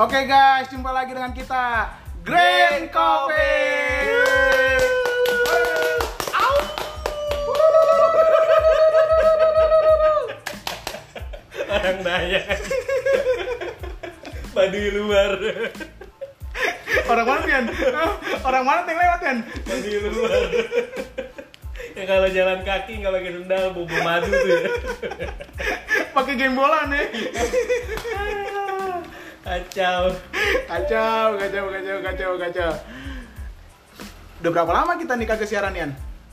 Oke guys, jumpa lagi dengan kita Grand Coffee. Au. orang Dayak Baduy luar Orang mana Pian? Hah? Orang mana yang lewat Pian? Baduy luar yang kalau jalan kaki nggak pakai sendal bobo madu tuh ya. Pakai game bola nih. kacau Kacau, kacau, kacau, kacau, kacau. Udah berapa lama kita nih kagak siaran Yan?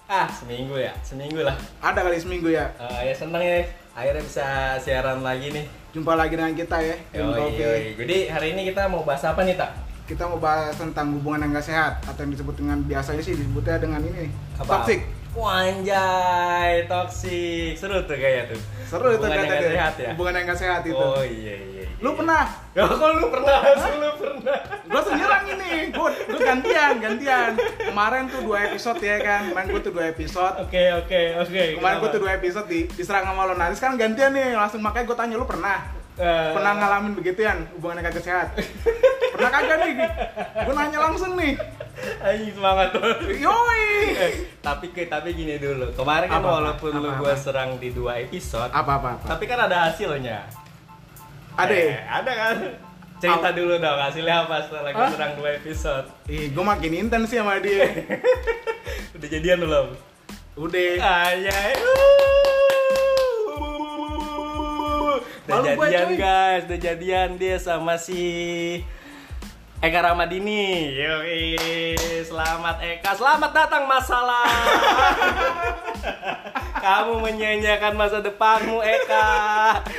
ah seminggu ya seminggu lah Ada kali seminggu ya. Eh, ya seneng ya akhirnya bisa siaran lagi nih Jumpa lagi dengan kita ya, Grand Yoi, Coffee. yoi. Jadi hari ini kita mau bahas apa nih tak? Kita mau bahas tentang hubungan yang gak sehat atau yang disebut dengan biasanya sih disebutnya dengan ini nih, Apa? toxic. Wanjay, toksik. Seru tuh kayaknya tuh. Seru itu Hubungan yang katanya. nggak sehat ya. Hubungan yang gak sehat itu. Oh iya iya. iya. Lu pernah Ya kok lu pernah? Lu pernah. gue senyerang ini gue gue gantian gantian kemarin tuh dua episode ya kan kemarin gue tuh dua episode Oke oke oke. kemarin gue tuh dua episode di diserang sama lo nah sekarang gantian nih langsung makanya gue tanya lu pernah Eh, pernah ngalamin begituan hubungannya kagak sehat pernah kagak nih gue nanya langsung nih Anjing semangat tuh. yoi tapi ke- tapi gini dulu. Kemarin kan Apa? walaupun lu Apa? gua serang di dua episode, apa apa apa tapi kan ada hasilnya. ada ya? Eh, ada kan? Cerita Apa? dulu dong hasilnya apa setelah gua Hah? serang dua episode. ih gue makin intens sih sama dia Udah jadian belum? udah Ayai. Udah Uhuh. Malu gua, jadian cuy. guys, udah jadian dia sama si Eka Ramadini. Yoi, selamat Eka, selamat datang masalah. Kamu menyanyiakan masa depanmu Eka.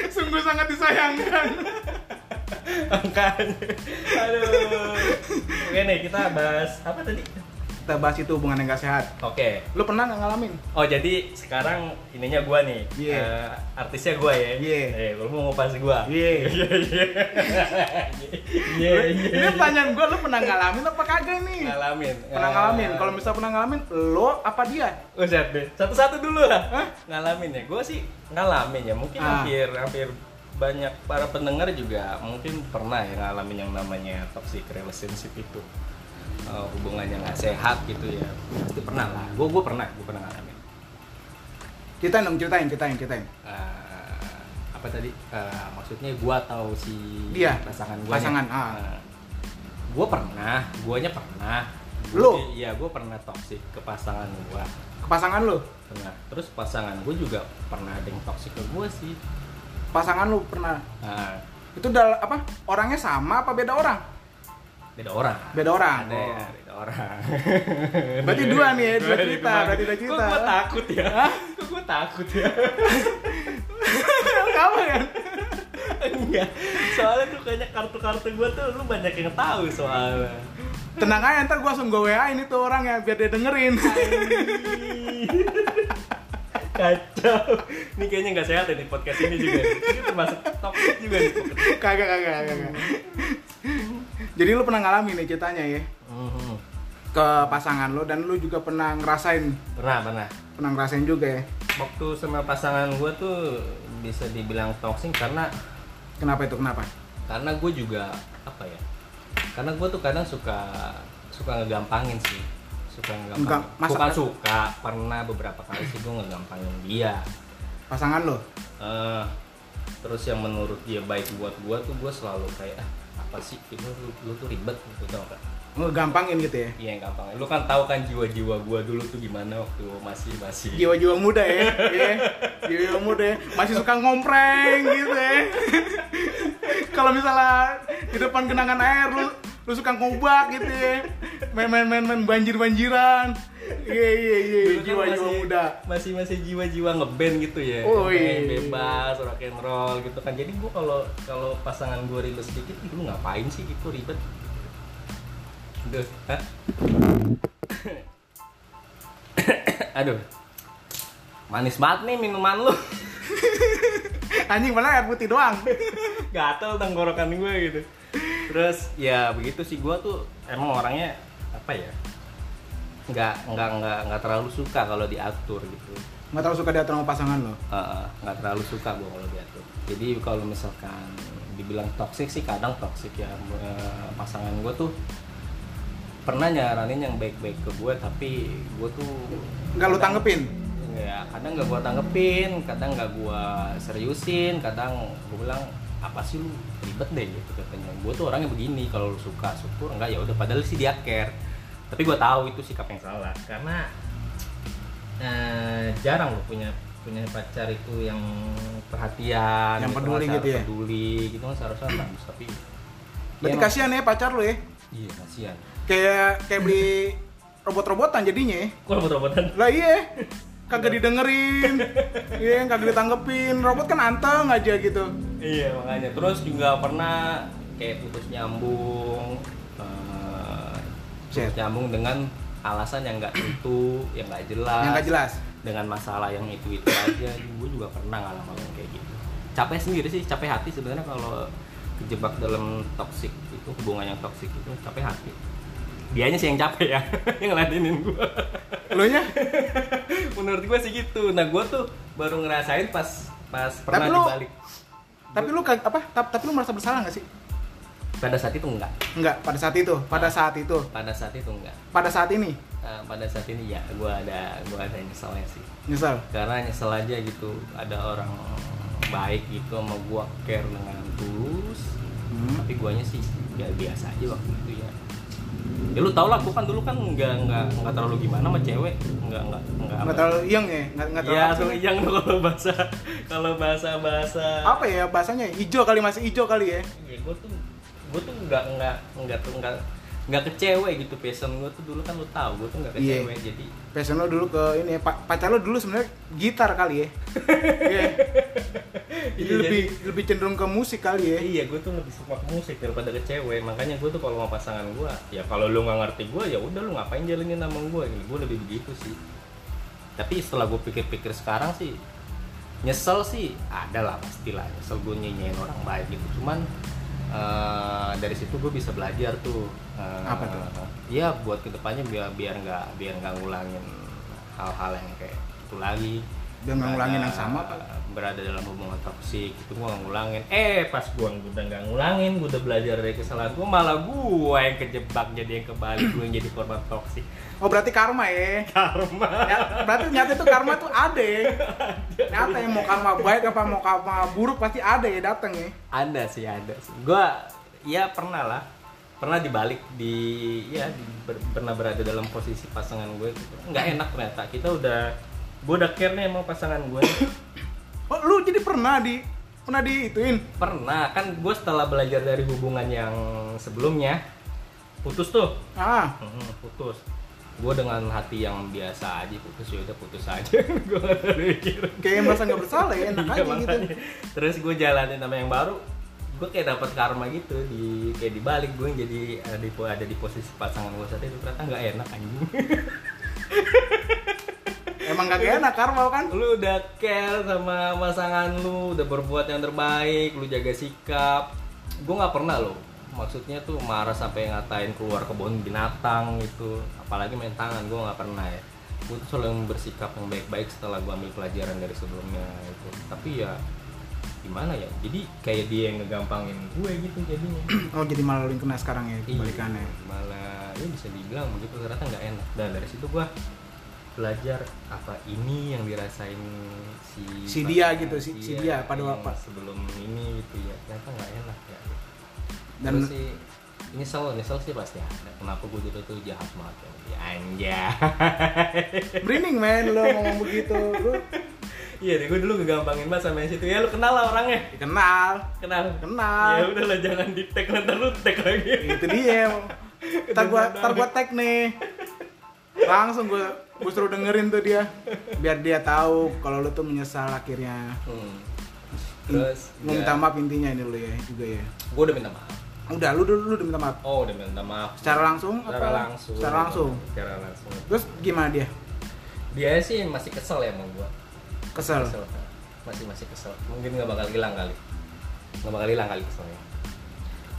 sungguh sangat disayangkan Makanya. Aduh. Oke nih, kita bahas apa tadi? kita bahas itu hubungan yang gak sehat Oke. lu pernah nggak ngalamin Oh jadi sekarang ininya gua nih, Iya. Eh, artisnya gua ya. Iya. Eh, lu mau ngupas gua. Iya. Iya. Iya. Iya. Iya. ini pertanyaan gue lu pernah ngalamin apa kagak nih Ngalamin. pernah ngalamin kalau misal pernah ngalamin lo apa dia Usah Eh, deh. Satu-satu dulu lah. Hah? Ngalamin ya. Gua sih ngalamin ya. Mungkin Ah. hampir hampir banyak para pendengar juga mungkin pernah ya ngalamin yang namanya toxic relationship itu. Eh, hubungan yang gak sehat gitu ya. Pasti pernah lah. Gua gua pernah, gua pernah ngalamin. ceritain dong ceritain ceritain ceritain eh, apa tadi Eh, maksudnya gua atau si Dia. pasangan gua Iya, Eh, Pasangan, ah. gua pernah guanya pernah Lu? Gua- iya gua pernah toksik ke pasangan gua ke pasangan lu pernah terus pasangan gua juga pernah ada yang toksik ke gua sih pasangan lu pernah Ah, itu dal apa orangnya sama apa beda orang beda orang beda orang ada Oh. ya beda orang berarti dua nih ya dua Gua dari cerita kemarin. berarti dua cerita kok gua takut ya kok gua takut ya kamu ya enggak Iya. soalnya tuh kayaknya kartu-kartu gua tuh lu banyak yang tahu soalnya tenang aja ntar gua langsung gue wa ini tuh orang ya biar dia dengerin kacau ini kayaknya nggak sehat ini podcast ini juga ini termasuk toxic juga nih kagak kagak kagak kagak. jadi lu pernah ngalamin nih ceritanya ya Mm-hmm. ke pasangan lo dan lu juga pernah ngerasain pernah pernah pernah ngerasain juga ya waktu sama pasangan gue tuh bisa dibilang toxic karena kenapa itu kenapa karena gue juga apa ya karena gue tuh kadang suka suka ngegampangin sih suka Enggak, ngegampangin masa- bukan suka pernah beberapa kali sih gue ngegampangin dia pasangan lo eh terus yang menurut dia baik buat gua tuh gua selalu kayak ah, apa sih itu lu, lu tuh ribet gitu tau gak ngegampangin gitu ya iya yang gampang lu kan tahu kan jiwa-jiwa gua dulu tuh gimana waktu masih masih jiwa-jiwa muda ya, ya. jiwa-jiwa muda ya. masih suka ngompreng gitu ya kalau misalnya di depan genangan air lu lu suka ngobak gitu ya main-main main banjir-banjiran iya iya iya Dulu kan jiwa-jiwa masih- muda masih masih jiwa-jiwa ngeband gitu ya Oh, Main iya. bebas rock and roll gitu kan jadi gua kalau kalau pasangan gua ribet sedikit "Ih, lu ngapain sih itu ribet Duh, hah? aduh manis banget nih minuman lu anjing malah air putih doang gatel tenggorokan gue gitu terus ya begitu sih gue tuh emang orangnya apa ya nggak nggak nggak nggak terlalu suka kalau diatur gitu nggak terlalu suka diatur sama pasangan lo Eh, nggak terlalu suka gue kalau diatur jadi kalau misalkan dibilang toxic sih kadang toxic ya Eh, pasangan gue tuh pernah nyaranin yang baik-baik ke gue tapi gue tuh Nggak lu kadang- tanggepin? ya kadang nggak gue tanggepin kadang nggak gue seriusin kadang gue bilang apa sih lu ribet deh gitu katanya gue tuh orangnya begini kalau lu suka syukur enggak ya udah padahal sih dia care tapi gue tahu itu sikap yang salah salah karena eh, jarang lo punya punya pacar itu yang perhatian Yang gitu, peduli nggak gitu ya? peduli gitu kan seharusnya bagus tapi Berarti Iya, kasihan ya pacar lu ya. Iya kasihan. Kayak kayak beli robot-robotan jadinya ya. kok robot-robotan Lah iya. Kagak didengerin. Iya, kagak ditanggepin. Robot kan anteng aja gitu. Iya makanya. Terus juga pernah kayak putus nyambung, eh, putus Set. nyambung dengan alasan yang nggak tentu, yang nggak jelas, Yang gak Ya, jelas. dengan masalah yang itu itu aja. Gue juga pernah ngalamin kayak gitu. Capek sendiri sih, capek hati sebenarnya kalau kejebak dalam toxic itu hubungan yang toxic itu capek hati. Dianya sih yang capek ya, yang ngeladenin gue. Lu nya? Menurut gue sih gitu. Nah gue tuh baru ngerasain pas pas pernah lu- dibalik. Tapi lu kag- apa? Tap- Tapi lu merasa bersalah gak sih? Pada saat itu enggak. Enggak, pada saat itu, pada saat itu, pada saat itu enggak pada saat ini Nah, pada saat ini ya gue ada gue ada nyeselnya sih nyesel. karena nyesel aja gitu ada orang baik gitu sama gue care dengan tulus tapi guanya sih ya biasa aja waktu itu ya ya lu tau lah gue kan dulu kan nggak nggak nggak terlalu gimana sama cewek nggak nggak nggak apa- Nggak terlalu yang ya, nggak nggak terlalu ya apa sih? tuh yang kalau bahasa kalau bahasa bahasa apa ya bahasanya? Ijo kali masih ijo kali ya. ya gue tuh gue tuh nggak nggak nggak tuh nggak nggak ke cewek gitu passion gue tuh dulu kan lu tahu gue tuh nggak ke Iya. cewek jadi Passion lo dulu ke ini ya, pa- pacar lo dulu sebenarnya gitar kali ya. Iya. Jadi Iya, lebih lebih cenderung ke musik kali ya. Eh, Iya, gue tuh lebih suka ke musik daripada ke cewek. Makanya gue tuh kalau sama pasangan gue, ya kalau lu nggak ngerti gue, ya udah lu ngapain jalanin sama gue. Gitu. Gue lebih begitu sih. Tapi setelah gue pikir-pikir sekarang sih, nyesel sih ada lah pastilah. Nyesel gue nyanyiin orang baik gitu. Cuman eh, dari situ gue bisa belajar tuh. eh, Apa tuh? Ya buat kedepannya biar biar nggak biar nggak ngulangin hal-hal yang kayak itu lagi Biar nggak ngulangin yang sama, Pak. berada dalam hubungan toksik itu gua nggak ngulangin eh pas gua udah nggak ngulangin gua udah belajar dari kesalahan gua malah gua yang kejebak jadi yang kebalik gua yang jadi korban toksik Oh berarti karma ya. karma Ya, berarti nyata itu karma tuh ada ya. Nyata ya mau karma baik apa mau karma buruk pasti ada ya datang ya. ada sih ada sih gua ya pernah lah pernah dibalik di ya di- ber- pernah berada dalam posisi pasangan gue gitu. nggak enak ternyata kita udah gua udah care nih emang pasangan gue Oh lu jadi pernah di pernah diituin pernah kan gue setelah belajar dari hubungan yang sebelumnya putus tuh Ah, Mhm, putus gue dengan hati yang biasa aja putus ya udah putus aja gue gak ada mikir kayak merasa nggak bersalah ya, enak Iya, aja gitu. makanya. terus gue jalanin sama yang baru gue kayak dapat karma gitu di kayak dibalik gue jadi ada di, ada di posisi pasangan gue saat itu ternyata nggak enak anjing Emang kagak enak karma kan? lu udah care sama pasangan lu udah berbuat yang terbaik lu jaga sikap gue nggak pernah loh maksudnya tuh marah sampai ngatain keluar kebun binatang gitu apalagi main tangan gue nggak pernah ya gue tuh selalu bersikap yang baik-baik setelah gue ambil pelajaran dari sebelumnya itu tapi ya gimana ya jadi kayak dia yang ngegampangin gue gitu jadinya Oh jadi malah lu yang kena sekarang ya kebalikannya. Iya, malah ya bisa dibilang begitu ternyata nggak enak dan dari situ gua belajar apa ini yang dirasain si Si dia gitu, si- si dia pada yang waktu. sebelum ini gitu ya ternyata nggak enak ya dan Dan sih nyesel nyesel sih pasti ada kenapa gua dulu tuh jahat banget ya Ya, anjay Brining men lo ngomong begitu. Lu iya deh gua dulu kegampangin banget sama yang situ ya lu kenal lah orangnya dikenal, kenal ya kenal. udahlah jangan di tag nanti lu tag lagi Itu dia. Ntar gua ntar gua tag nih. Langsung gua gua suruh dengerin tuh dia biar dia tahu kalau lu tuh menyesal akhirnya. Hmm. terus Mau minta maaf intinya ini lu ya juga ya. gue udah minta maaf Udah lu dulu lu udah minta maaf. Oh, udah minta maaf. Secara langsung Secara apa? langsung. Secara langsung. Secara langsung. Terus gimana dia? Dia sih masih kesel ya sama gua. Kesel. Kesel. Masih masih kesel. Mungkin nggak bakal hilang kali. Nggak bakal hilang kali keselnya.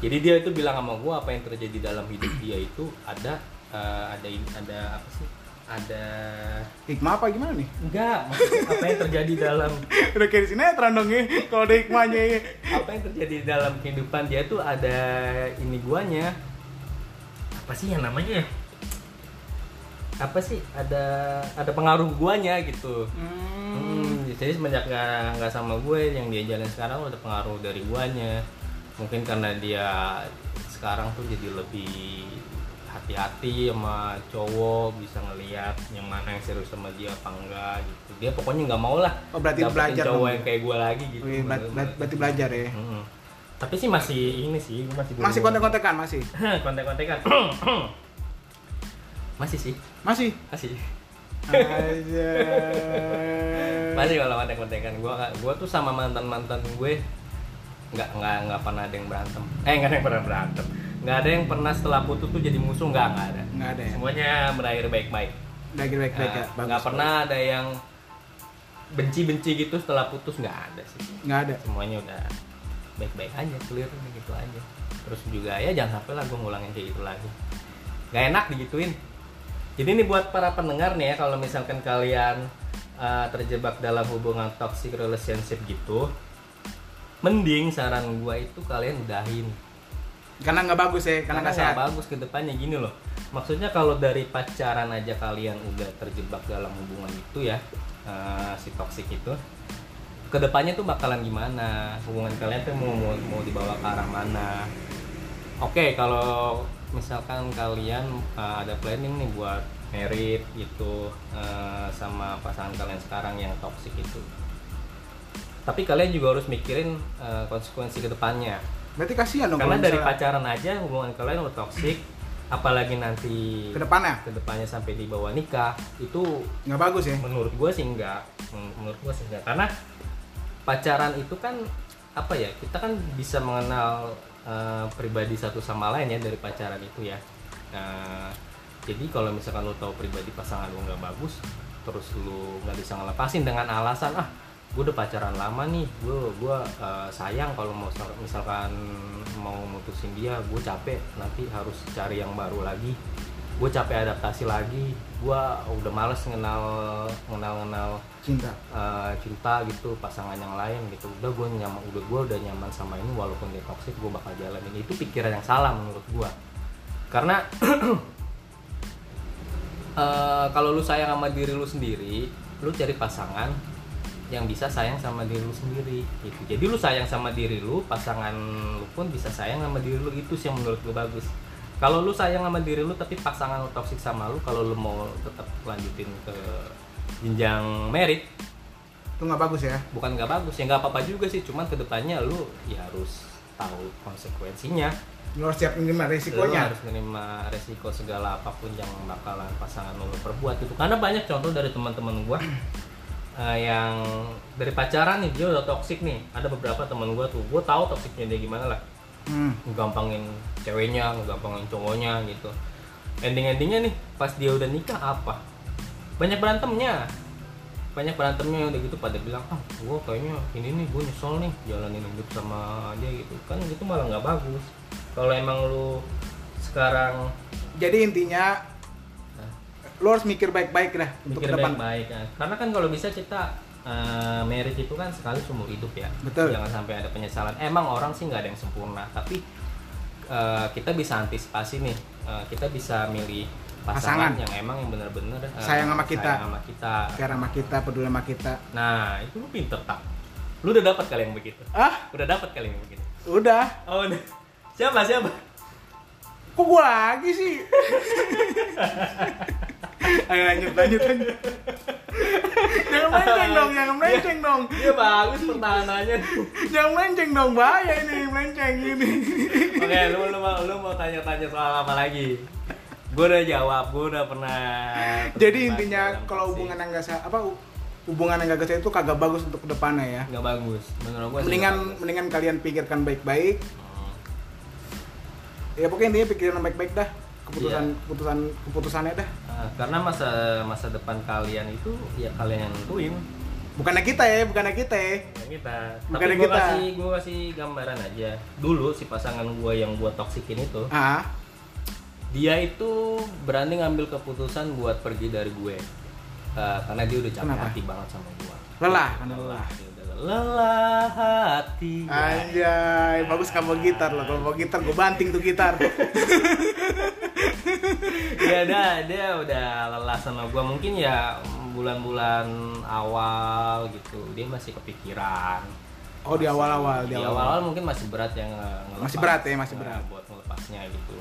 Jadi dia itu bilang sama gua apa yang terjadi dalam hidup dia itu ada eh, ada ada apa sih? ada Hikmah apa gimana nih? enggak maksudnya apa yang terjadi dalam Udah kayak di sinetron dong ya, kalau ada hikmahnya ya. apa yang terjadi dalam kehidupan dia tuh ada ini guanya apa sih yang namanya ya? apa sih ada ada pengaruh guanya gitu Hmm, jadi semenjak nggak nggak sama gue yang dia jalan sekarang udah pengaruh dari guanya. Mungkin karena dia sekarang tuh jadi lebih hati-hati sama cowok bisa ngelihat yang mana yang serius sama dia apa enggak gitu. Dia pokoknya nggak mau lah. Oh, berarti dapetin belajar cowok dong. yang kayak gue lagi gitu. Wih, bela- bela- Berarti belajar ya. Hmm. Tapi sih masih ini sih, gue masih Masih kontek-kontekan masih. kontek-kontekan. masih sih, Masih. masih. Aja. Masih kalau kontek kontekan gue gue tuh sama mantan mantan gue nggak nggak nggak pernah ada yang berantem eh nggak ada yang pernah berantem nggak ada yang pernah setelah putus tuh jadi musuh nggak nggak ada Enggak ada ya. semuanya berakhir baik baik Lagi baik-baik ya. Bagus. Nah, nggak pernah ada yang benci benci gitu setelah putus nggak ada sih Enggak ada. semuanya udah baik baik aja clear udah gitu aja terus juga ya jangan sampai lah gue ngulangin kayak gitu lagi nggak enak digituin jadi ini buat para pendengar nih ya kalau misalkan kalian eh, terjebak dalam hubungan toxic relationship gitu mending saran gua itu kalian udahin Karena nggak bagus ya, karena karena nggak nggak sehat. bagus ke depannya gini loh maksudnya kalau dari pacaran aja kalian udah terjebak dalam hubungan itu ya eh, si toksik itu ke depannya tuh bakalan gimana hubungan kalian tuh mau mau, mau dibawa ke arah mana oke kalau misalkan kalian eh, ada planning nih buat merit gitu eh, sama pasangan kalian sekarang yang toksik itu tapi kalian juga harus mikirin eh, konsekuensi kedepannya Berarti kasihan dong karena kalau dari misalnya pacaran aja hubungan kalian udah toksik apalagi nanti ke depannya kedepannya sampai di bawah nikah itu nggak bagus ya. menurut gue sih enggak Men- menurut gue sih enggak karena pacaran itu kan apa ya kita kan bisa mengenal eh, pribadi satu sama lain ya dari pacaran itu ya nah jadi kalau misalkan lo tahu pribadi pasangan lo nggak bagus terus lo nggak bisa ngelepasin dengan alasan ah gue udah pacaran lama nih gue gua eh, sayang kalau mau misalkan mau mutusin dia gue capek nanti harus cari yang baru lagi gue capek adaptasi lagi gue udah males ngenal ngenal ngenal Cinta. eh, cinta gitu pasangan yang lain gitu udah gue nyaman udah gue udah nyaman sama ini walaupun dia toxic gue bakal jalanin itu pikiran yang salah menurut gue karena eh, kalau lu sayang sama diri lu sendiri lu cari pasangan yang bisa sayang sama diri lu sendiri gitu jadi lu sayang sama diri lu pasangan lu pun bisa sayang sama diri lu itu sih yang menurut gue bagus kalau lu sayang sama diri lu tapi pasangan lu toksik sama lu kalau lu mau tetap lanjutin ke jenjang merit Itu nggak bagus ya. bukan nggak bagus ya nggak apa-apa juga sih cuman kedepannya lu ya harus tahu konsekuensinya Lu harus siap menerima Lu resikonya. harus menerima resiko segala apapun yang bakalan pasangan lo perbuat itu karena banyak contoh dari teman-teman gua eh, yang dari pacaran nih dia udah toksik nih ada beberapa teman gua tuh gua tahu toksiknya dia gimana lah Hmm. ngegampangin ceweknya ngegampangin cowoknya gitu ending-endingnya nih pas dia udah nikah apa banyak berantemnya banyak berantemnya udah gitu pada bilang ah gue kayaknya ini nih gue nyesel nih jalanin hidup sama dia gitu kan gitu malah nggak bagus kalau emang lu sekarang Jadi intinya nah, lu harus mikir baik-baik dah untuk mikir ke depan. baik-baik kan karena kan kalau bisa kita eh marriage itu kan sekali seumur hidup ya Betul. jangan sampai ada penyesalan emang orang sih nggak ada yang sempurna tapi eh, kita bisa antisipasi nih Eh, kita bisa milih pasangan, Pasangan. yang emang yang benar-benar eh, Sayang sama kita. Ya. sayang sama kita Care sama kita, peduli sama kita. nah itu lu pinter tak lu udah dapat kali yang begitu Ah, udah dapat kali yang begitu udah. oh udah. siapa siapa Kok gua lagi sih? Ayo lanjut, lanjut, lanjut. jangan melenceng dong, jangan melenceng dong. dia bagus pertahanannya Jangan melenceng dong, bahaya ini melenceng ini. Oke, lu, lu, mau- lu mau tanya-tanya soal apa lagi? Gue udah jawab, gue udah pernah. Jadi intinya kalau hubungan yang gak sehat, apa hubungan yang gak sehat itu kagak bagus untuk kedepannya ya. nggak bagus, menurut gue. Mendingan mendingan kalian pikirkan baik-baik. Ya pokoknya intinya pikirin baik-baik dah keputusan Iya. keputusan keputusannya dah. Eh, karena masa masa depan kalian itu ya kalian yang nentuin. Bukannya kita ya, bukannya kita ya. bukan Kita. Bukan Tapi gue kita. kasih gue kasih gambaran aja. Dulu si pasangan gue yang gue toksikin itu, Ah, dia itu berani ngambil keputusan buat pergi dari gue Eh, karena dia udah capek Kenapa? hati banget sama gue Lelah, karena lelah. Dia udah lelah. lelah hati Anjay, bagus kamu gitar loh. Kalau bawa gitar, gue banting tuh gitar. ya dah dia udah lelah sama gua mungkin ya bulan-bulan awal gitu dia masih kepikiran Oh di awal-awal, di awal-awal mungkin masih berat yang ngelepas, Masih berat ya, masih eh, berat. buat melepasnya gitu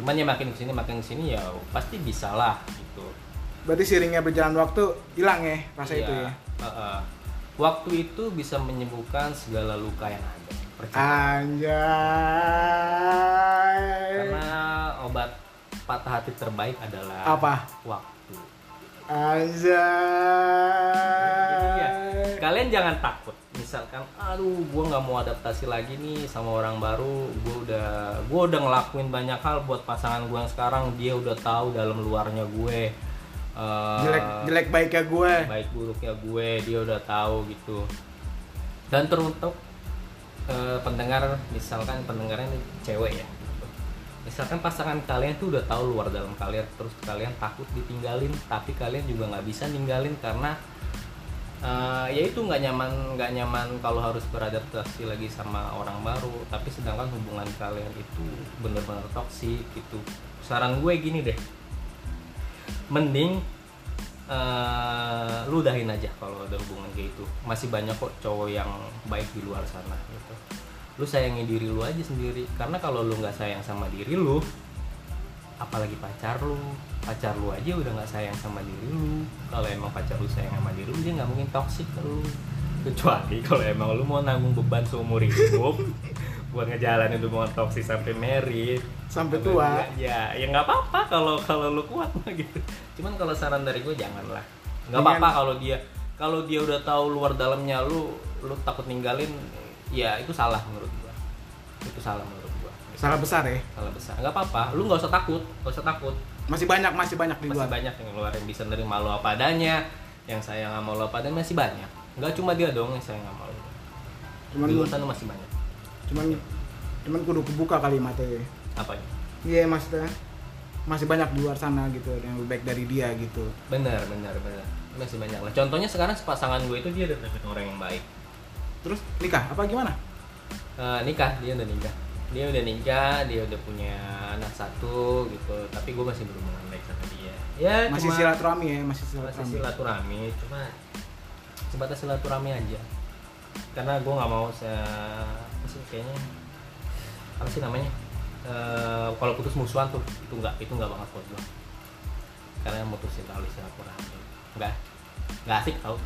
cuman ya makin kesini makin kesini ya pasti bisa lah gitu Berarti seiringnya berjalan waktu hilang ya rasa Iya, itu ya. eh-eh. waktu itu bisa menyembuhkan segala luka yang ada percaya Anjay. karena obat patah hati terbaik adalah Apa? waktu Anjay. Iya. Kalian jangan takut. Misalkan, aduh, gue nggak mau adaptasi lagi nih sama orang baru. Gue udah, gue udah ngelakuin banyak hal buat pasangan gue yang sekarang. Dia udah tahu dalam luarnya gue. Eh, Jelek jelek baiknya gue. baik buruknya gue dia udah tahu gitu dan teruntuk eh, pendengar misalkan pendengarnya ini cewek ya misalkan pasangan kalian tuh udah tahu luar dalam kalian terus kalian takut ditinggalin tapi kalian juga nggak bisa ninggalin karena eh, ya itu nggak nyaman nggak nyaman kalau harus beradaptasi lagi sama orang baru tapi sedangkan hubungan kalian itu bener-bener toksik gitu saran gue gini deh mending eh, lu udahin aja kalau ada hubungan kayak itu masih banyak kok cowok yang baik di luar sana gitu lu sayangi diri lu aja sendiri karena kalau lu nggak sayang sama diri lu apalagi pacar lu pacar lu aja udah nggak sayang sama diri lu kalau emang pacar lu sayang sama diri lu dia nggak mungkin toksik ke lu kecuali kalau emang lu mau nanggung beban seumur hidup buat ngejalanin hubungan toksik sampai married Sampai tua. ya ya nggak apa-apa kalau kalau lu kuat mah gitu cuman kalau saran dari gue janganlah nggak Dengan- apa-apa kalau dia kalau dia udah tahu luar dalamnya lu lu takut ninggalin ya itu salah menurut gua itu salah menurut gua Salah besar ya. salah besar nggak apa-apa lu nggak usah takut nggak usah takut Masih banyak masih banyak di masih luar. banyak yang luar yang bisa nerima lu apa adanya yang sayang sama lu apa adanya masih banyak nggak cuma dia dong yang sayang sama lu Cuman di luar sana masih banyak cuman cuman kudu kebuka kalimatnya. apa Iya maksudnya masih banyak di luar sana gitu yang lebih baik dari dia gitu. benar benar benar masih banyak lah contohnya sekarang pasangan gue itu dia udah dapetin orang yang baik Terus nikah apa gimana? Eh, nikah dia udah nikah dia udah nikah dia udah punya anak satu gitu tapi gue masih berhubungan baik sama dia ya Masih cuma- silaturahmi ya, masih masih silaturahmi. silaturahmi cuma sebatas silaturahmi aja karena gue nggak mau se apa sih kayaknya apa sih namanya Eh, kalau putus musuhan tuh itu nggak itu nggak banget buat gue karena mutusin tali silaturahmi nggak nggak asik tau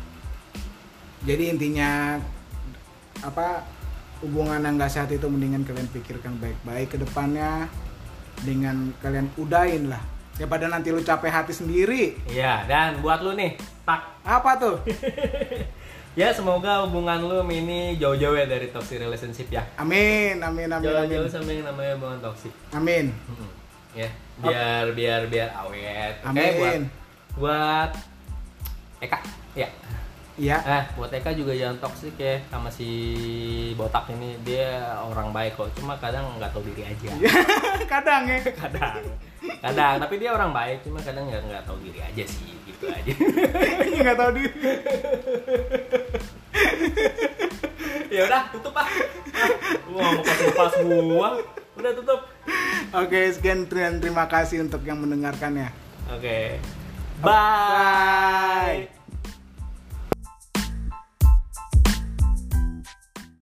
Jadi intinya apa hubungan yang gak sehat itu mendingan kalian pikirkan baik-baik ke depannya dengan kalian udahin lah daripada nanti lu capek hati sendiri iya dan buat lu nih tak apa tuh Ya semoga hubungan lu ini jauh-jauh ya dari toxic relationship ya. amin amin amin amin Jauh-jauh sama yang namanya hubungan toxic. amin Mm-mm. Ya, biar biar biar awet. Oke buat amin buat Eka. Ya. iya Eh, buat Eka juga jangan toxic ya sama si botak ini. Dia orang baik kok, cuma kadang nggak tahu diri aja. Iya. kadang ya Kadang. Kadang, tapi dia orang baik, cuma kadang nggak nggak tahu diri aja sih, gitu aja. nggak tahu diri ya udah, tutup ah. Wah, mau pas gua. Udah tutup. oke sekian ya. dan terima kasih untuk yang mendengarkannya Okay. bye. Bye.